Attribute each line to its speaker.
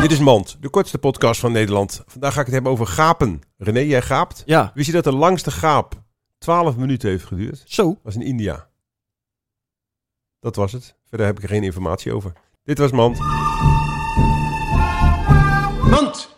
Speaker 1: Dit is Mand, de kortste podcast van Nederland. Vandaag ga ik het hebben over gapen. René, jij gaapt.
Speaker 2: Ja.
Speaker 1: Wist je dat de langste gaap 12 minuten heeft geduurd? Dat
Speaker 2: Zo.
Speaker 1: was in India. Dat was het. Verder heb ik er geen informatie over. Dit was Mand.
Speaker 3: Mand,